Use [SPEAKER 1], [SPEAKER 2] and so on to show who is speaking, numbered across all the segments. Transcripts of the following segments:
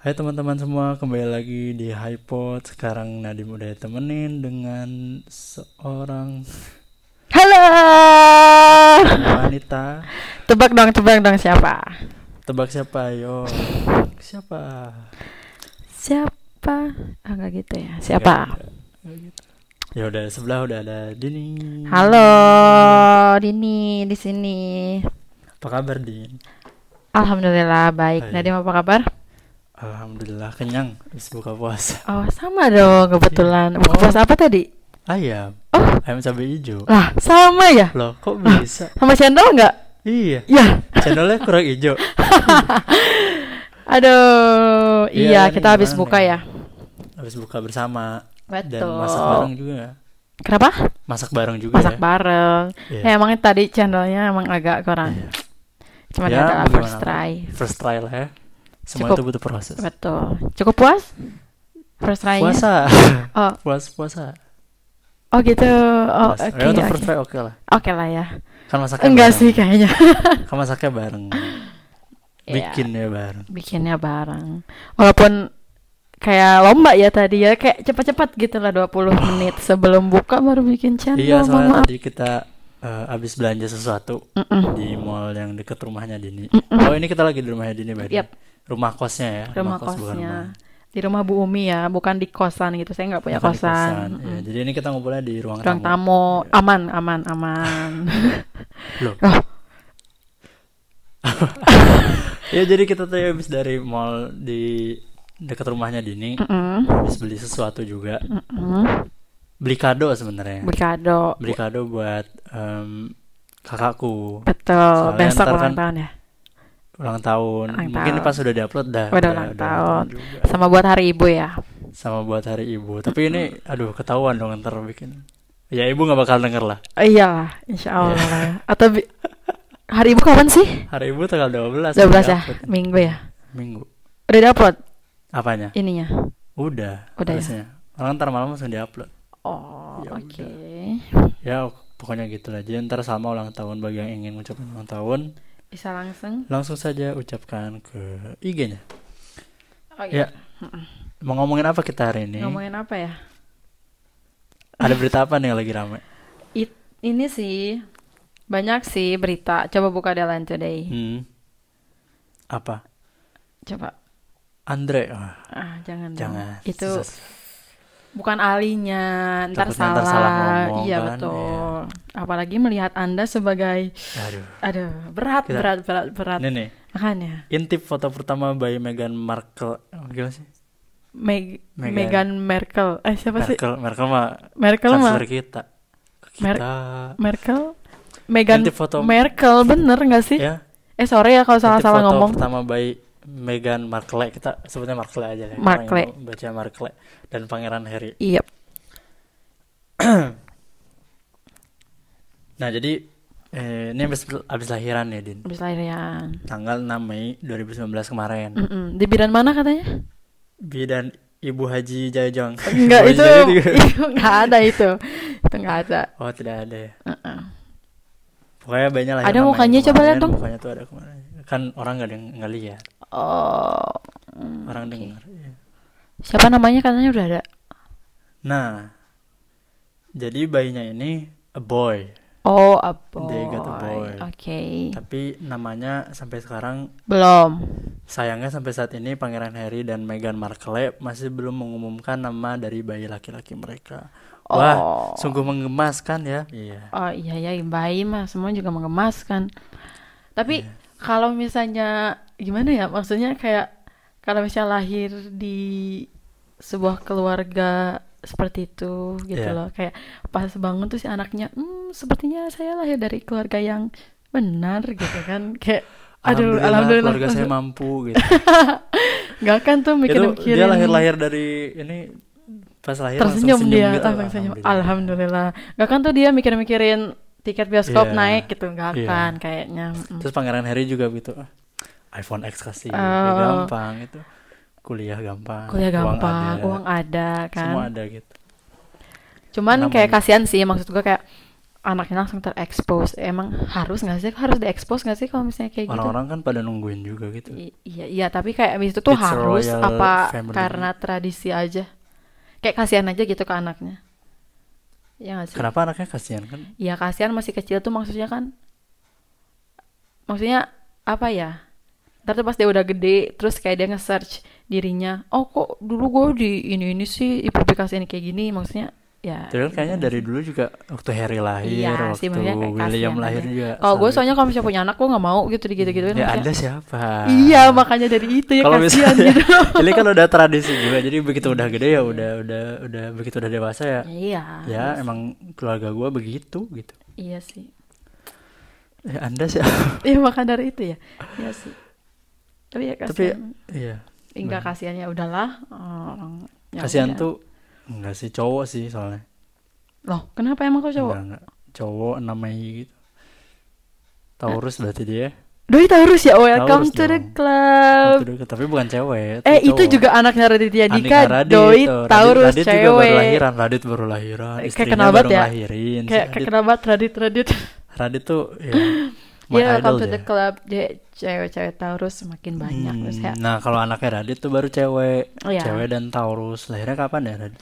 [SPEAKER 1] Hai teman-teman semua, kembali lagi di HiPod. Sekarang Nadim udah temenin dengan seorang
[SPEAKER 2] Halo.
[SPEAKER 1] wanita.
[SPEAKER 2] Tebak dong, tebak dong siapa?
[SPEAKER 1] Tebak siapa? Yo. Siapa?
[SPEAKER 2] Siapa? Ah nggak gitu ya. Siapa?
[SPEAKER 1] Enggak, enggak gitu. Ya udah sebelah udah ada Dini.
[SPEAKER 2] Halo, Dini di sini.
[SPEAKER 1] Apa kabar Din?
[SPEAKER 2] Alhamdulillah baik.
[SPEAKER 1] Hai.
[SPEAKER 2] Nadim apa kabar?
[SPEAKER 1] Alhamdulillah kenyang habis buka puasa.
[SPEAKER 2] Oh, sama
[SPEAKER 1] Iya.
[SPEAKER 2] dong kebetulan.
[SPEAKER 1] Oh.
[SPEAKER 2] Buka puasa apa tadi?
[SPEAKER 1] Ayam.
[SPEAKER 2] Oh.
[SPEAKER 1] Ayam cabe hijau.
[SPEAKER 2] Lah, sama ya?
[SPEAKER 1] Loh, kok bisa?
[SPEAKER 2] Sama cendol nggak?
[SPEAKER 1] iya.
[SPEAKER 2] Ya.
[SPEAKER 1] Channelnya kurang hijau.
[SPEAKER 2] Aduh,
[SPEAKER 1] Iya,
[SPEAKER 2] iya,
[SPEAKER 1] ini
[SPEAKER 2] kita habis
[SPEAKER 1] gimana
[SPEAKER 2] buka
[SPEAKER 1] nih?
[SPEAKER 2] ya.
[SPEAKER 1] Habis buka bersama dan
[SPEAKER 2] Betul.
[SPEAKER 1] masak bareng juga.
[SPEAKER 2] Kenapa?
[SPEAKER 1] Masak bareng juga
[SPEAKER 2] Masak
[SPEAKER 1] ya.
[SPEAKER 2] bareng.
[SPEAKER 1] Iya.
[SPEAKER 2] Ya, emang tadi channelnya emang agak kurang.
[SPEAKER 1] Iya.
[SPEAKER 2] Cuman
[SPEAKER 1] Ya,
[SPEAKER 2] adalah
[SPEAKER 1] gimana?
[SPEAKER 2] first try.
[SPEAKER 1] First trial ya. Semua
[SPEAKER 2] Cukup.
[SPEAKER 1] itu butuh proses.
[SPEAKER 2] Betul. Cukup puas? First try
[SPEAKER 1] Puasa.
[SPEAKER 2] Oh,
[SPEAKER 1] puasa puasa.
[SPEAKER 2] oh gitu. Oh,
[SPEAKER 1] Puasa.
[SPEAKER 2] oke.
[SPEAKER 1] Ya, untuk
[SPEAKER 2] oke.
[SPEAKER 1] first try oke lah.
[SPEAKER 2] Oke lah ya.
[SPEAKER 1] Kan masaknya
[SPEAKER 2] Enggak
[SPEAKER 1] bareng.
[SPEAKER 2] sih kayaknya.
[SPEAKER 1] Kan masaknya bareng.
[SPEAKER 2] Iya,
[SPEAKER 1] Bikinnya bareng.
[SPEAKER 2] bikinnya bareng. Walaupun kayak lomba ya tadi ya kayak cepat-cepat gitu lah 20 menit sebelum buka baru bikin channel.
[SPEAKER 1] Iya,
[SPEAKER 2] mohon
[SPEAKER 1] soalnya
[SPEAKER 2] maaf.
[SPEAKER 1] tadi kita eh, abis belanja sesuatu
[SPEAKER 2] Mm-mm.
[SPEAKER 1] di mall yang deket rumahnya Dini.
[SPEAKER 2] Mm-mm.
[SPEAKER 1] Oh, ini kita lagi di rumahnya Dini, Mbak. Dini.
[SPEAKER 2] Yap.
[SPEAKER 1] Rumah kosnya ya.
[SPEAKER 2] Rumah
[SPEAKER 1] kos, bukan
[SPEAKER 2] kosnya.
[SPEAKER 1] rumah-
[SPEAKER 2] Di rumah Bu Umi ya, bukan di kosan gitu. Saya nggak punya
[SPEAKER 1] bukan di
[SPEAKER 2] kosan.
[SPEAKER 1] Iya,
[SPEAKER 2] Mm-mm.
[SPEAKER 1] jadi ini kita ngobrolnya di ruang,
[SPEAKER 2] Ruang
[SPEAKER 1] tamu. Iya.
[SPEAKER 2] tamu. Aman, aman, aman.
[SPEAKER 1] Loh.
[SPEAKER 2] Loh.
[SPEAKER 1] Ya, jadi kita tadi abis dari mall di deket rumahnya Dini.
[SPEAKER 2] Mm-mm.
[SPEAKER 1] Habis beli sesuatu juga.
[SPEAKER 2] Mm-mm.
[SPEAKER 1] Beli kado sebenarnya.
[SPEAKER 2] Beli kado.
[SPEAKER 1] beli kado buat em, kakakku
[SPEAKER 2] Betul,
[SPEAKER 1] Soalnya
[SPEAKER 2] besok
[SPEAKER 1] ntar
[SPEAKER 2] ulang
[SPEAKER 1] kan-
[SPEAKER 2] tahun ya.
[SPEAKER 1] ulang tahun.
[SPEAKER 2] Ulang
[SPEAKER 1] Mungkin
[SPEAKER 2] tahun.
[SPEAKER 1] pas sudah diupload dah.
[SPEAKER 2] Udah ulang tahun.
[SPEAKER 1] juga.
[SPEAKER 2] Sama buat hari ibu ya.
[SPEAKER 1] Sama buat hari ibu. Tapi ini
[SPEAKER 2] Mm.
[SPEAKER 1] aduh ketahuan dong ntar bikin. Ya ibu nggak bakal denger lah.
[SPEAKER 2] Oh, iyalah, insya Allah.
[SPEAKER 1] Iya.
[SPEAKER 2] Atau bi- hari ibu kapan sih?
[SPEAKER 1] Hari ibu tanggal 12. udah
[SPEAKER 2] 12 ya,
[SPEAKER 1] upload.
[SPEAKER 2] minggu ya.
[SPEAKER 1] Minggu.
[SPEAKER 2] Udah dapet
[SPEAKER 1] Apanya?
[SPEAKER 2] ininya.
[SPEAKER 1] Udah.
[SPEAKER 2] Udah ya?
[SPEAKER 1] harusnya. Orang ntar malam langsung diupload.
[SPEAKER 2] Oh,
[SPEAKER 1] Ya
[SPEAKER 2] oke.
[SPEAKER 1] Ya pokoknya gitu lah. Jadi ntar sama ulang tahun bagi yang ingin ucapkan ulang tahun
[SPEAKER 2] Bisa langsung.
[SPEAKER 1] langsung saja ucapkan ke IG-nya.
[SPEAKER 2] Oh
[SPEAKER 1] Ya.
[SPEAKER 2] iya.
[SPEAKER 1] Mau ngomongin apa kita hari ini?
[SPEAKER 2] Ngomongin apa ya?
[SPEAKER 1] Ada berita apa nih yang lagi rame?
[SPEAKER 2] It, ini sih banyak sih berita. Coba buka Deadline Today.
[SPEAKER 1] Hmm. Apa?
[SPEAKER 2] Coba.
[SPEAKER 1] Andre. Wah,
[SPEAKER 2] Ah, jangan. dong.
[SPEAKER 1] jangan.
[SPEAKER 2] Itu
[SPEAKER 1] Sus.
[SPEAKER 2] bukan ahlinya, ntar
[SPEAKER 1] Takutnya
[SPEAKER 2] salah.
[SPEAKER 1] ntar salah ngomong
[SPEAKER 2] iya
[SPEAKER 1] kan, iya.
[SPEAKER 2] betul. Apalagi melihat Anda sebagai
[SPEAKER 1] Aduh.
[SPEAKER 2] aduh, berat
[SPEAKER 1] Kita-
[SPEAKER 2] berat berat berat.
[SPEAKER 1] Ini nih,
[SPEAKER 2] Makanya.
[SPEAKER 1] intip foto pertama by Meghan Markle. Oh, Gimana sih?
[SPEAKER 2] Meg
[SPEAKER 1] Meghan.
[SPEAKER 2] Meghan Merkel. Eh siapa sih?
[SPEAKER 1] Merkel, Merkel mah
[SPEAKER 2] Merkel mah.
[SPEAKER 1] kansler kita. Kita.
[SPEAKER 2] Mer- Merkel. Meghan
[SPEAKER 1] Nanti foto-
[SPEAKER 2] Merkel bener nggak sih?
[SPEAKER 1] ya,
[SPEAKER 2] Eh sorry ya kalau
[SPEAKER 1] intip foto
[SPEAKER 2] salah-salah ngomong.
[SPEAKER 1] pertama by Meghan Markle. Kita sebutnya Markle aja ya.
[SPEAKER 2] Markle.
[SPEAKER 1] Baca Markle dan Pangeran Harry.
[SPEAKER 2] Iya.
[SPEAKER 1] Nah, jadi eh, ini habis, habis lahiran ya, Din.
[SPEAKER 2] Habis lahiran.
[SPEAKER 1] Tanggal 6 Mei 2019 kemarin.
[SPEAKER 2] Mm-mm. Di bidan mana katanya?
[SPEAKER 1] Bidan Ibu Haji Jajang.
[SPEAKER 2] Enggak
[SPEAKER 1] Ibu Haji
[SPEAKER 2] itu,
[SPEAKER 1] Jajang juga.
[SPEAKER 2] itu nggak ada itu. Itu nggak ada.
[SPEAKER 1] Oh, tidak ada ya.
[SPEAKER 2] Mm-mm.
[SPEAKER 1] Pokoknya banyak lah. ya
[SPEAKER 2] Ada mukanya, coba lihat dong.
[SPEAKER 1] Mukanya tuh ada kemarin. Kan orang nggak deng- nggak lihat,
[SPEAKER 2] Oh. mm,
[SPEAKER 1] orang
[SPEAKER 2] oke.
[SPEAKER 1] dengar. iya.
[SPEAKER 2] Siapa namanya katanya udah ada.
[SPEAKER 1] Nah, jadi bayinya ini a boy,
[SPEAKER 2] Oh, a boy.
[SPEAKER 1] They got a boy.
[SPEAKER 2] Oke.
[SPEAKER 1] tapi namanya sampai sekarang
[SPEAKER 2] Belum.
[SPEAKER 1] sayangnya sampai saat ini Pangeran Harry dan Meghan Markle masih belum mengumumkan nama dari bayi laki-laki mereka. Wah,
[SPEAKER 2] Oh.
[SPEAKER 1] sungguh menggemaskan ya. Iya.
[SPEAKER 2] Oh iya ya bayi mah semua juga menggemaskan. Tapi
[SPEAKER 1] Iya.
[SPEAKER 2] kalau misalnya gimana ya maksudnya kayak kalau misalnya lahir di sebuah keluarga seperti itu gitu
[SPEAKER 1] Iya.
[SPEAKER 2] loh kayak pas bangun tuh si anaknya hmm sepertinya saya lahir dari keluarga yang benar gitu kan kayak aduh
[SPEAKER 1] Alhamdulillah,
[SPEAKER 2] alhamdulillah
[SPEAKER 1] keluarga saya mampu gitu.
[SPEAKER 2] nggak kan tuh
[SPEAKER 1] Itu
[SPEAKER 2] mikir-mikirin
[SPEAKER 1] dia lahir-lahir dari ini pas lahir langsung
[SPEAKER 2] tersenyum dia
[SPEAKER 1] gitu.
[SPEAKER 2] langsung senyum
[SPEAKER 1] Alhamdulillah.
[SPEAKER 2] alhamdulillah nggak kan tuh dia mikir-mikirin tiket bioskop
[SPEAKER 1] Iya.
[SPEAKER 2] naik gitu nggak
[SPEAKER 1] Iya.
[SPEAKER 2] kan kayaknya Mm.
[SPEAKER 1] Terus Pangeran Harry juga gitu. ah, iPhone X kasih, ya
[SPEAKER 2] Oh.
[SPEAKER 1] gampang itu. Kuliah gampang,
[SPEAKER 2] kuliah ya gampang
[SPEAKER 1] uang ada,
[SPEAKER 2] uang ada, kan
[SPEAKER 1] semua ada gitu.
[SPEAKER 2] cuman
[SPEAKER 1] Namanya.
[SPEAKER 2] kayak kasihan sih maksud gua kayak anaknya langsung terekspos emang harus nggak sih harus diekspos nggak sih kalau misalnya kayak gitu
[SPEAKER 1] Orang-orang kan pada nungguin juga gitu.
[SPEAKER 2] I- iya iya tapi kayak abis itu
[SPEAKER 1] It's
[SPEAKER 2] tuh
[SPEAKER 1] a
[SPEAKER 2] harus
[SPEAKER 1] royal
[SPEAKER 2] apa
[SPEAKER 1] family.
[SPEAKER 2] karena tradisi aja kayak kasihan aja gitu ke anaknya ya nggak sih
[SPEAKER 1] Kenapa anaknya kasihan kan?
[SPEAKER 2] ya kasihan masih kecil tuh maksudnya kan maksudnya apa ya ntar tuh pas dia udah gede terus kayak dia nge-search dirinya oh kok dulu gue di ini ini sih publikasi ini kayak gini maksudnya ya
[SPEAKER 1] Tapi kan kayaknya dari dulu juga waktu Harry lahir,
[SPEAKER 2] Iya
[SPEAKER 1] waktu
[SPEAKER 2] sih, makanya kayak
[SPEAKER 1] William
[SPEAKER 2] kasihan
[SPEAKER 1] lahir
[SPEAKER 2] aja.
[SPEAKER 1] juga.
[SPEAKER 2] kalau gue
[SPEAKER 1] sama.
[SPEAKER 2] soalnya kalau misalnya punya anak gue nggak mau gitu gitu gitu
[SPEAKER 1] ya Anda siapa?
[SPEAKER 2] iya makanya dari itu ya
[SPEAKER 1] Kalau
[SPEAKER 2] kasihan
[SPEAKER 1] misalnya,
[SPEAKER 2] gitu
[SPEAKER 1] ini kan udah tradisi juga. Jadi begitu udah gede ya udah udah udah begitu udah dewasa ya.
[SPEAKER 2] iya
[SPEAKER 1] Ya emang keluarga gue begitu gitu.
[SPEAKER 2] iya sih
[SPEAKER 1] Ya Anda siapa?
[SPEAKER 2] iya maka dari itu ya iya sih tapi ya
[SPEAKER 1] Tapi
[SPEAKER 2] kasihan
[SPEAKER 1] iya.
[SPEAKER 2] enggak kasihannya udahlah orang ya
[SPEAKER 1] Kasihan
[SPEAKER 2] udah.
[SPEAKER 1] tuh enggak sih cowok sih soalnya.
[SPEAKER 2] loh kenapa emang kau cowok
[SPEAKER 1] Enggak, enggak. Cowok namanya gitu. Taurus
[SPEAKER 2] Eh,
[SPEAKER 1] berarti dia.
[SPEAKER 2] Doi Taurus ya, welcome
[SPEAKER 1] Taurus
[SPEAKER 2] to the
[SPEAKER 1] dong.
[SPEAKER 2] club.
[SPEAKER 1] Itu dulu, tapi bukan cewek.
[SPEAKER 2] eh itu
[SPEAKER 1] cowok.
[SPEAKER 2] juga anaknya Raditya
[SPEAKER 1] Andika Radit
[SPEAKER 2] Dika, kan Doi
[SPEAKER 1] tuh. Radit-
[SPEAKER 2] Taurus
[SPEAKER 1] Radit juga baru
[SPEAKER 2] cewek.
[SPEAKER 1] lahiran, Radit baru lahiran,
[SPEAKER 2] Kayak
[SPEAKER 1] istrinya
[SPEAKER 2] kenal banget
[SPEAKER 1] baru
[SPEAKER 2] ya.
[SPEAKER 1] ngelahirin. Si
[SPEAKER 2] Kayak
[SPEAKER 1] Radit,
[SPEAKER 2] kenapa Radit Radit?
[SPEAKER 1] Radit tuh ya, my idol
[SPEAKER 2] Ya welcome to
[SPEAKER 1] dia.
[SPEAKER 2] the club. Dia cewek-cewek Taurus semakin banyak terus
[SPEAKER 1] Hmm,
[SPEAKER 2] ya.
[SPEAKER 1] Nah, kalau anaknya Radit tuh baru cewek.
[SPEAKER 2] Iya.
[SPEAKER 1] Cewek dan Taurus. Lahirnya kapan ya Radit?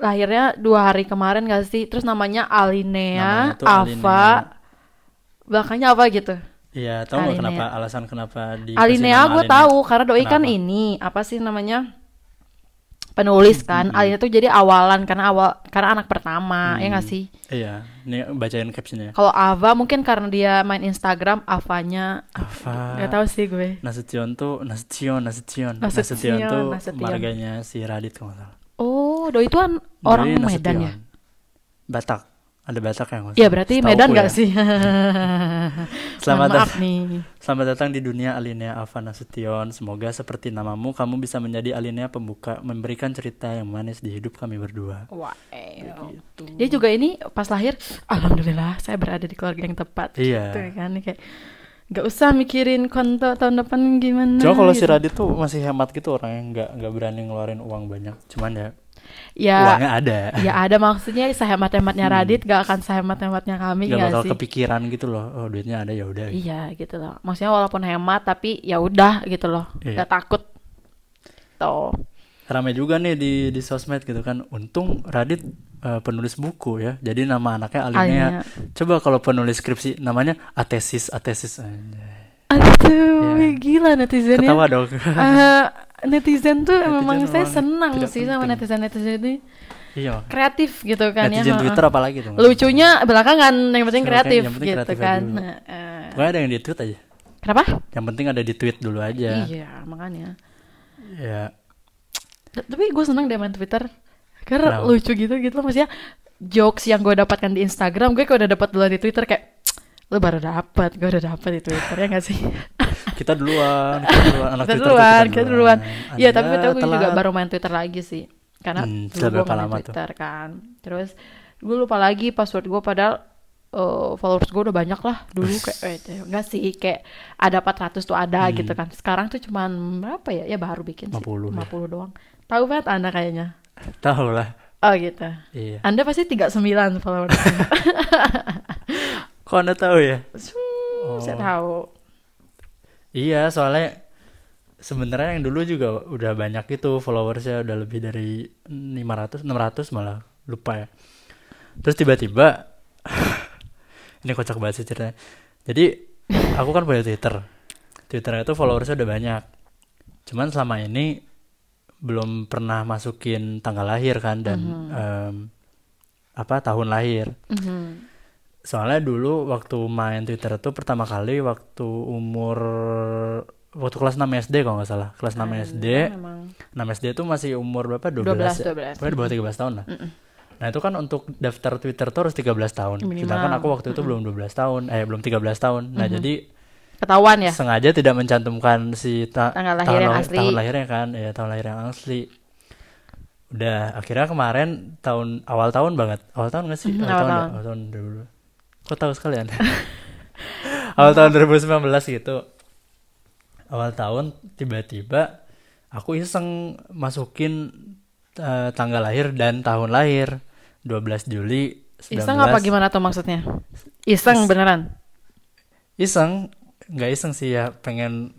[SPEAKER 2] Lahirnya dua hari kemarin gak sih? Terus namanya Alinea,
[SPEAKER 1] Namanya tuh
[SPEAKER 2] Ava, belakangnya apa gitu?
[SPEAKER 1] Iya, tahu nggak
[SPEAKER 2] Alinea.
[SPEAKER 1] kenapa alasan kenapa di
[SPEAKER 2] Alinea gue tahu karena doi kan
[SPEAKER 1] ya. Kenapa?
[SPEAKER 2] ini apa sih namanya penulis kan. Alinea tuh jadi awalan karena awal karena anak pertama ya gak sih?
[SPEAKER 1] Iya, ini bacain captionnya.
[SPEAKER 2] Kalau Ava mungkin karena dia main Instagram, Avanya
[SPEAKER 1] Ava.
[SPEAKER 2] nggak tahu sih gue.
[SPEAKER 1] Nasution tuh Nasution, Nasution.
[SPEAKER 2] Nasution,
[SPEAKER 1] Nasution tuh
[SPEAKER 2] Nasution.
[SPEAKER 1] marganya si Radit kalau nggak salah.
[SPEAKER 2] Oh, Doi itu an- orang
[SPEAKER 1] Dari
[SPEAKER 2] Medan ya?
[SPEAKER 1] Nasution. Batak. Ada Batak yang nggak
[SPEAKER 2] Iya
[SPEAKER 1] salah.
[SPEAKER 2] berarti
[SPEAKER 1] Setahuku
[SPEAKER 2] Medan nggak
[SPEAKER 1] ya.
[SPEAKER 2] sih?
[SPEAKER 1] Selamat
[SPEAKER 2] Mohon maaf nih.
[SPEAKER 1] Selamat datang di dunia Alinea Ava Nasution. Semoga seperti namamu kamu bisa menjadi Alinea pembuka memberikan cerita yang manis di hidup kami berdua.
[SPEAKER 2] Wah, dia juga ini pas lahir, alhamdulillah saya berada di keluarga yang tepat.
[SPEAKER 1] Iya.
[SPEAKER 2] Gitu kan kayak nggak usah mikirin konto tahun depan gimana.
[SPEAKER 1] Cuma kalau si
[SPEAKER 2] gitu.
[SPEAKER 1] Radit tuh masih hemat gitu orang yang nggak nggak berani ngeluarin uang banyak. Cuman ya
[SPEAKER 2] ya,
[SPEAKER 1] uangnya ada.
[SPEAKER 2] ya ada maksudnya sehemat-hematnya Radit gak akan sehemat-hematnya kami
[SPEAKER 1] Nggak
[SPEAKER 2] nggak
[SPEAKER 1] bakal
[SPEAKER 2] Iya sih?
[SPEAKER 1] kepikiran gitu loh. Oh duitnya ada ya udah. gitu.
[SPEAKER 2] Iya gitu loh. Maksudnya walaupun hemat tapi ya udah gitu loh.
[SPEAKER 1] Iya.
[SPEAKER 2] Gak takut. Tuh.
[SPEAKER 1] Rame juga nih di di sosmed gitu kan. Untung Radit eh, penulis buku ya. Jadi nama anaknya Alinea.
[SPEAKER 2] Alinea.
[SPEAKER 1] Coba kalau penulis skripsi namanya Atesis Atesis. Anjay.
[SPEAKER 2] Aduh, gila
[SPEAKER 1] Iya.
[SPEAKER 2] netizennya.
[SPEAKER 1] Ketawa dong.
[SPEAKER 2] Eh, netizen tuh
[SPEAKER 1] Netizen
[SPEAKER 2] memang saya
[SPEAKER 1] memang
[SPEAKER 2] senang
[SPEAKER 1] tidak
[SPEAKER 2] sih sama
[SPEAKER 1] penting.
[SPEAKER 2] netizen-netizen ini.
[SPEAKER 1] iya.
[SPEAKER 2] Kreatif gitu kan
[SPEAKER 1] Netizen
[SPEAKER 2] ya. ha-ha.
[SPEAKER 1] Twitter apalagi tuh.
[SPEAKER 2] Lucunya belakangan yang penting
[SPEAKER 1] Yang penting-
[SPEAKER 2] kreatif
[SPEAKER 1] yang penting
[SPEAKER 2] gitu
[SPEAKER 1] kreatif
[SPEAKER 2] kan.
[SPEAKER 1] aja dulu.
[SPEAKER 2] Nah, eh,
[SPEAKER 1] Pokoknya ada yang di tweet aja.
[SPEAKER 2] kenapa?
[SPEAKER 1] Yang penting ada di tweet dulu aja.
[SPEAKER 2] Iya, makanya.
[SPEAKER 1] Ya.
[SPEAKER 2] T- Tapi gue senang deh main Twitter karena
[SPEAKER 1] Kenapa?
[SPEAKER 2] lucu gitu gitu loh maksudnya jokes yang gue dapatkan di Instagram gue kayak udah dapat duluan di Twitter kayak lu baru dapat gue udah dapat di Twitter ya gak sih
[SPEAKER 1] Kita duluan, kita duluan anak
[SPEAKER 2] kita
[SPEAKER 1] Twitter
[SPEAKER 2] duluan kita duluan iya tapi
[SPEAKER 1] Anda
[SPEAKER 2] betul gue juga
[SPEAKER 1] telat.
[SPEAKER 2] baru main Twitter lagi sih karena
[SPEAKER 1] Hmm,
[SPEAKER 2] dulu
[SPEAKER 1] sudah
[SPEAKER 2] gue
[SPEAKER 1] berapa
[SPEAKER 2] main
[SPEAKER 1] lama tuh?
[SPEAKER 2] Twitter kan terus gue lupa lagi password gue padahal eh, followers gue udah banyak lah dulu kayak eh, enggak sih kayak ada 400 tuh ada
[SPEAKER 1] Hmm.
[SPEAKER 2] gitu kan sekarang tuh cuman berapa ya ya baru bikin sih
[SPEAKER 1] 50 ya.
[SPEAKER 2] 50 doang tahu banget anda kayaknya
[SPEAKER 1] Tahu lah.
[SPEAKER 2] Oh gitu.
[SPEAKER 1] Iya.
[SPEAKER 2] Anda pasti 39 followers.
[SPEAKER 1] Kok Anda tahu ya? Oh.
[SPEAKER 2] Hmm, Saya tahu.
[SPEAKER 1] Iya, soalnya sebenarnya yang dulu juga udah banyak itu followersnya udah lebih dari 500, 600 malah lupa ya. Terus tiba-tiba ini kocak banget sih ceritanya. Jadi aku kan punya Twitter. Twitter itu followersnya udah banyak. Cuman selama ini belum pernah masukin tanggal lahir kan dan em, apa tahun lahir.
[SPEAKER 2] Mhm.
[SPEAKER 1] Soalnya dulu waktu main Twitter tuh pertama kali waktu umur waktu kelas 6 SD kalau nggak salah. Kelas 6
[SPEAKER 2] Hmm.
[SPEAKER 1] SD.
[SPEAKER 2] Iya, Memang.
[SPEAKER 1] 6 SD itu masih umur berapa? 12. 12, 12.
[SPEAKER 2] 12.
[SPEAKER 1] Pokoknya di bawah 13 tahun lah. Nah, itu kan untuk daftar Twitter tuh harus 13 tahun.
[SPEAKER 2] Minimal.
[SPEAKER 1] Sedangkan aku waktu itu belum 12 tahun, eh belum 13 tahun. Nah, jadi
[SPEAKER 2] Ketahuan ya?
[SPEAKER 1] sengaja tidak mencantumkan si ta-
[SPEAKER 2] Tanggal lahir yang
[SPEAKER 1] lah-
[SPEAKER 2] asli.
[SPEAKER 1] tahun lahirnya kan ya tahun lahir yang asli udah akhirnya kemarin tahun awal tahun banget awal tahun nggak sih
[SPEAKER 2] Mhm,
[SPEAKER 1] awal, tahun,
[SPEAKER 2] awal
[SPEAKER 1] ya?
[SPEAKER 2] tahun.
[SPEAKER 1] awal tahun 2000 kok tahu sekalian awal tahun 2019 gitu awal tahun tiba-tiba aku iseng masukin eh, tanggal lahir dan tahun lahir 12 Juli
[SPEAKER 2] Iseng apa gimana tuh maksudnya? Iseng beneran.
[SPEAKER 1] Iseng, nggak iseng sih ya, pengen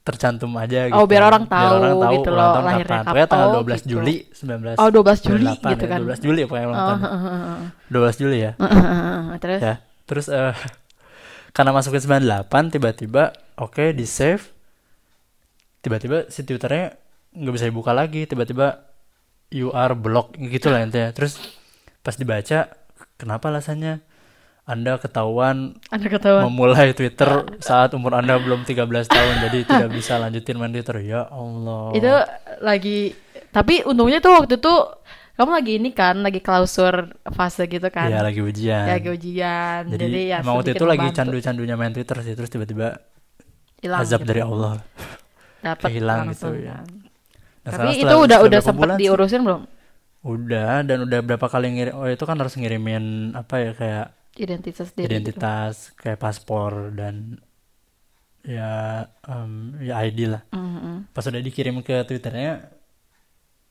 [SPEAKER 1] tercantum aja gitu.
[SPEAKER 2] Oh, biar orang tahu gitu
[SPEAKER 1] ulang
[SPEAKER 2] loh,
[SPEAKER 1] tahun
[SPEAKER 2] lahirnya
[SPEAKER 1] kapan.
[SPEAKER 2] kapan.
[SPEAKER 1] Pokoknya tanggal 12
[SPEAKER 2] Oh, gitu.
[SPEAKER 1] Juli 19.
[SPEAKER 2] Oh 12 Juli
[SPEAKER 1] 98
[SPEAKER 2] gitu
[SPEAKER 1] ya,
[SPEAKER 2] kan.
[SPEAKER 1] 12 Juli pokoknya ulang tahun.
[SPEAKER 2] Oh, oh, oh, oh.
[SPEAKER 1] 12 Juli ya.
[SPEAKER 2] Heeh, heeh, heeh. Terus
[SPEAKER 1] Ya. Terus eh karena masukin 98 tiba-tiba oke di save. Tiba-tiba si Twitternya nggak bisa dibuka lagi, tiba-tiba you are blocked gitu lah intinya. Terus pas dibaca kenapa alasannya Anda ketahuan
[SPEAKER 2] ada ketahuan.
[SPEAKER 1] memulai Twitter saat umur Anda belum 13 tahun jadi tidak bisa lanjutin main Twitter. Ya Allah.
[SPEAKER 2] Itu lagi tapi untungnya tuh waktu itu kamu lagi ini kan, lagi klausur fase gitu kan.
[SPEAKER 1] Iya, lagi ujian.
[SPEAKER 2] Ya, lagi ujian. Jadi,
[SPEAKER 1] Jadi,
[SPEAKER 2] ya
[SPEAKER 1] emang waktu
[SPEAKER 2] sedikit
[SPEAKER 1] itu lagi
[SPEAKER 2] membantu.
[SPEAKER 1] candu-candunya main Twitter sih terus tiba-tiba
[SPEAKER 2] Hilang
[SPEAKER 1] azab
[SPEAKER 2] gitu.
[SPEAKER 1] dari Allah. Nah,
[SPEAKER 2] Dapet
[SPEAKER 1] hilang
[SPEAKER 2] langsung
[SPEAKER 1] gitu ya.
[SPEAKER 2] kan.
[SPEAKER 1] Nah,
[SPEAKER 2] Tapi
[SPEAKER 1] sekarang
[SPEAKER 2] itu
[SPEAKER 1] setelah-
[SPEAKER 2] udah
[SPEAKER 1] setelah
[SPEAKER 2] udah
[SPEAKER 1] berapa
[SPEAKER 2] sempat
[SPEAKER 1] bulan sih?
[SPEAKER 2] diurusin belum?
[SPEAKER 1] Udah dan udah berapa kali ngirim oh itu kan harus ngirimin apa ya kayak
[SPEAKER 2] Identitas diri. gitu.
[SPEAKER 1] identitas, kayak paspor dan ya em, ya ID lah.
[SPEAKER 2] Mhm.
[SPEAKER 1] Pas udah dikirim ke Twitternya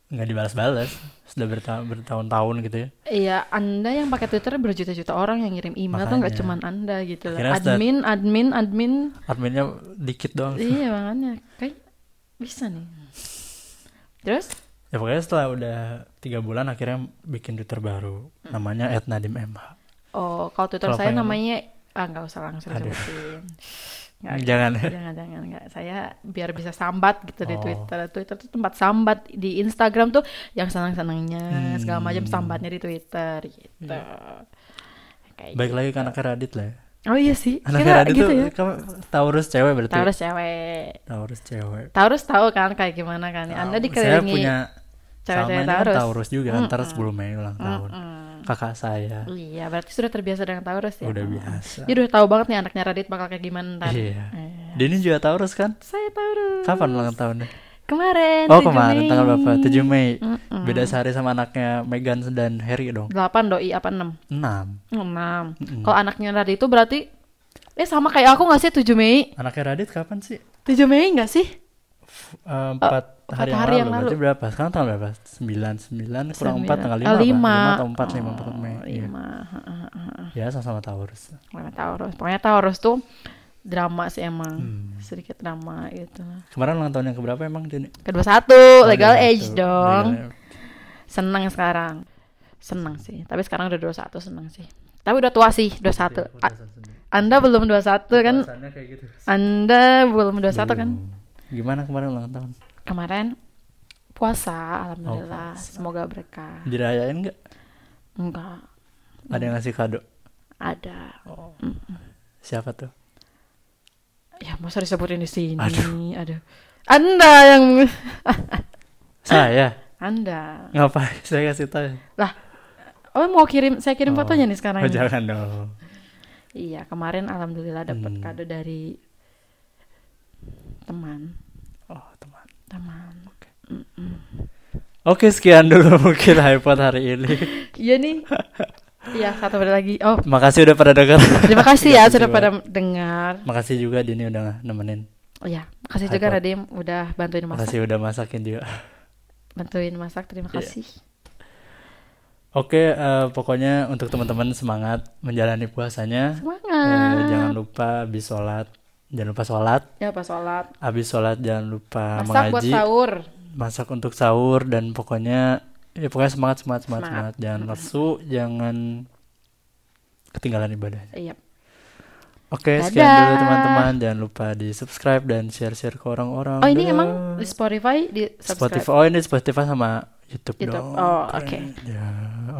[SPEAKER 1] nggak dibalas-balas sudah berta- bertahun-tahun gitu ya.
[SPEAKER 2] Iya, Anda yang pakai Twitter berjuta-juta orang yang ngirim email tuh nggak
[SPEAKER 1] Makanya.
[SPEAKER 2] cuman Anda gitu loh.
[SPEAKER 1] Akhirnya start-
[SPEAKER 2] Admin, admin, admin.
[SPEAKER 1] Adminnya dikit doang.
[SPEAKER 2] iya, makanya kayak bisa nih. Terus
[SPEAKER 1] Ya pokoknya setelah udah tiga bulan akhirnya bikin Twitter baru
[SPEAKER 2] Hmm.
[SPEAKER 1] namanya @nadimMH.
[SPEAKER 2] oh, kalau Twitter
[SPEAKER 1] Kalau
[SPEAKER 2] saya
[SPEAKER 1] pengen-
[SPEAKER 2] namanya ah nggak usah langsung
[SPEAKER 1] Aduh. Iya.
[SPEAKER 2] sebutin. Nggak,
[SPEAKER 1] Jangan. ya.
[SPEAKER 2] jangan jangan nggak saya biar bisa sambat gitu
[SPEAKER 1] Oh.
[SPEAKER 2] di Twitter Twitter tuh tempat sambat di Instagram tuh yang senang senangnya segala macam
[SPEAKER 1] Hmm. Iya.
[SPEAKER 2] sambatnya di Twitter gitu Kayak
[SPEAKER 1] Baik
[SPEAKER 2] gitu.
[SPEAKER 1] lagi ke anaknya Radit lah. Ya.
[SPEAKER 2] oh iya sih
[SPEAKER 1] Anaknya
[SPEAKER 2] kita
[SPEAKER 1] Radit
[SPEAKER 2] gitu
[SPEAKER 1] tuh
[SPEAKER 2] ya
[SPEAKER 1] kamu Taurus cewek berarti.
[SPEAKER 2] Taurus cewek
[SPEAKER 1] Taurus cewek.
[SPEAKER 2] Taurus tahu kan kayak gimana kan Anda
[SPEAKER 1] Saya
[SPEAKER 2] dikelilingi
[SPEAKER 1] punya sama
[SPEAKER 2] cewek-cewek
[SPEAKER 1] ini kan
[SPEAKER 2] Taurus. Hmm,
[SPEAKER 1] Taurus juga antar sebelum Mei ulang tahun.
[SPEAKER 2] Mm-mm.
[SPEAKER 1] Kakak saya
[SPEAKER 2] Hmm. iya berarti sudah terbiasa dengan Taurus ya
[SPEAKER 1] udah biasa.
[SPEAKER 2] dia udah tahu banget nih anaknya Radit bakal kayak gimana ntar.
[SPEAKER 1] Iya.
[SPEAKER 2] Eh,
[SPEAKER 1] Dini juga Taurus kan?
[SPEAKER 2] saya Taurus
[SPEAKER 1] Kapan ulang tahunnya?
[SPEAKER 2] kemarin
[SPEAKER 1] Oh
[SPEAKER 2] 7
[SPEAKER 1] kemarin
[SPEAKER 2] Hmm. Mei. Hmm,
[SPEAKER 1] tanggal berapa? 7 Mei.
[SPEAKER 2] Mm-mm.
[SPEAKER 1] Beda sehari sama anaknya Megan dan Harry dong.
[SPEAKER 2] 8 doi apa 6?
[SPEAKER 1] 6.
[SPEAKER 2] 6. Kalau anaknya Radit itu berarti eh sama kayak aku nggak sih 7 Mei?
[SPEAKER 1] Anaknya Radit kapan sih?
[SPEAKER 2] 7 Mei nggak sih?
[SPEAKER 1] F- eh, empat
[SPEAKER 2] empat
[SPEAKER 1] hari, yang,
[SPEAKER 2] hari
[SPEAKER 1] lalu.
[SPEAKER 2] yang lalu.
[SPEAKER 1] Berarti berapa? Sekarang tanggal berapa? 9 9 kurang 4
[SPEAKER 2] Sembilan.
[SPEAKER 1] tanggal 5
[SPEAKER 2] Eh, lima.
[SPEAKER 1] apa? 5 atau 4 5 4 Mei.
[SPEAKER 2] Oh,
[SPEAKER 1] Iya.
[SPEAKER 2] lima. Heeh, heeh, heeh.
[SPEAKER 1] Ya sama-sama Taurus.
[SPEAKER 2] Lima Taurus. Pokoknya Taurus tuh drama sih emang.
[SPEAKER 1] Hmm.
[SPEAKER 2] Sedikit drama gitu.
[SPEAKER 1] Kemarin ulang tahun yang keberapa emang Dini?
[SPEAKER 2] Kedua satu,
[SPEAKER 1] Oh,
[SPEAKER 2] legal
[SPEAKER 1] dia
[SPEAKER 2] age
[SPEAKER 1] satu.
[SPEAKER 2] dong.
[SPEAKER 1] Legal age.
[SPEAKER 2] Seneng sekarang. Seneng sih. Tapi sekarang udah 21 seneng sih. Tapi udah tua sih
[SPEAKER 1] Iya,
[SPEAKER 2] 21. A- Anda belum 21 kan?
[SPEAKER 1] Rasanya kayak gitu.
[SPEAKER 2] Anda belum 21 kan?
[SPEAKER 1] Hmm. Gimana kemarin ulang tahun?
[SPEAKER 2] kemarin puasa
[SPEAKER 1] Oh,
[SPEAKER 2] alhamdulillah
[SPEAKER 1] puasa.
[SPEAKER 2] semoga berkah
[SPEAKER 1] Dirayain nggak?
[SPEAKER 2] enggak
[SPEAKER 1] Ada yang ngasih kado?
[SPEAKER 2] ada
[SPEAKER 1] Siapa tuh?
[SPEAKER 2] ya masa disebutin di sini
[SPEAKER 1] Aduh.
[SPEAKER 2] aduh, anda yang
[SPEAKER 1] Saya.
[SPEAKER 2] anda
[SPEAKER 1] Ngapain? Saya kasih tahu.
[SPEAKER 2] lah oh mau kirim saya kirim
[SPEAKER 1] Oh.
[SPEAKER 2] fotonya nih
[SPEAKER 1] Oh,
[SPEAKER 2] sekarang ini.
[SPEAKER 1] jangan dong.
[SPEAKER 2] iya kemarin alhamdulillah dapat
[SPEAKER 1] Hmm.
[SPEAKER 2] kado dari teman
[SPEAKER 1] Oh, teman.
[SPEAKER 2] teman
[SPEAKER 1] Oke, sekian dulu mungkin iPod hari ini.
[SPEAKER 2] iya nih iya satu balik lagi oh
[SPEAKER 1] Makasih udah pada dengar.
[SPEAKER 2] terima kasih ya sudah
[SPEAKER 1] juga.
[SPEAKER 2] pada dengar
[SPEAKER 1] Makasih juga Dini udah nemenin.
[SPEAKER 2] oh ya makasih juga
[SPEAKER 1] IPod.
[SPEAKER 2] Radim udah bantuin masak
[SPEAKER 1] Makasih udah masakin juga.
[SPEAKER 2] bantuin masak terima
[SPEAKER 1] Iya.
[SPEAKER 2] kasih
[SPEAKER 1] Oke, eh, pokoknya untuk teman-teman semangat menjalani puasanya. Eh,
[SPEAKER 2] Semangat.
[SPEAKER 1] jangan lupa habis sholat, jangan lupa sholat.
[SPEAKER 2] Ya pas sholat.
[SPEAKER 1] Habis sholat jangan lupa
[SPEAKER 2] Masak buat
[SPEAKER 1] Ah, mengaji,
[SPEAKER 2] sahur.
[SPEAKER 1] masak untuk sahur dan pokoknya ya pokoknya semangat semangat semangat,
[SPEAKER 2] Semangat.
[SPEAKER 1] semangat. jangan lesu, jangan ketinggalan ibadahnya.
[SPEAKER 2] Iya.
[SPEAKER 1] Oke, sekian dulu
[SPEAKER 2] Dadah.
[SPEAKER 1] teman-teman. Jangan lupa di subscribe dan share-share ke orang-orang.
[SPEAKER 2] Oh ini
[SPEAKER 1] Dadah.
[SPEAKER 2] emang di Spotify di subscribe.
[SPEAKER 1] Spotify. Oh ini Spotify sama YouTube,
[SPEAKER 2] YouTube.
[SPEAKER 1] dong.
[SPEAKER 2] Oh,
[SPEAKER 1] Keren.
[SPEAKER 2] oke.
[SPEAKER 1] Ya,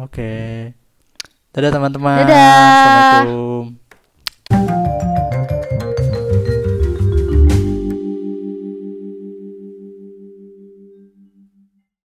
[SPEAKER 1] oke. Dadah teman-teman.
[SPEAKER 2] Dadah.
[SPEAKER 1] Assalamualaikum.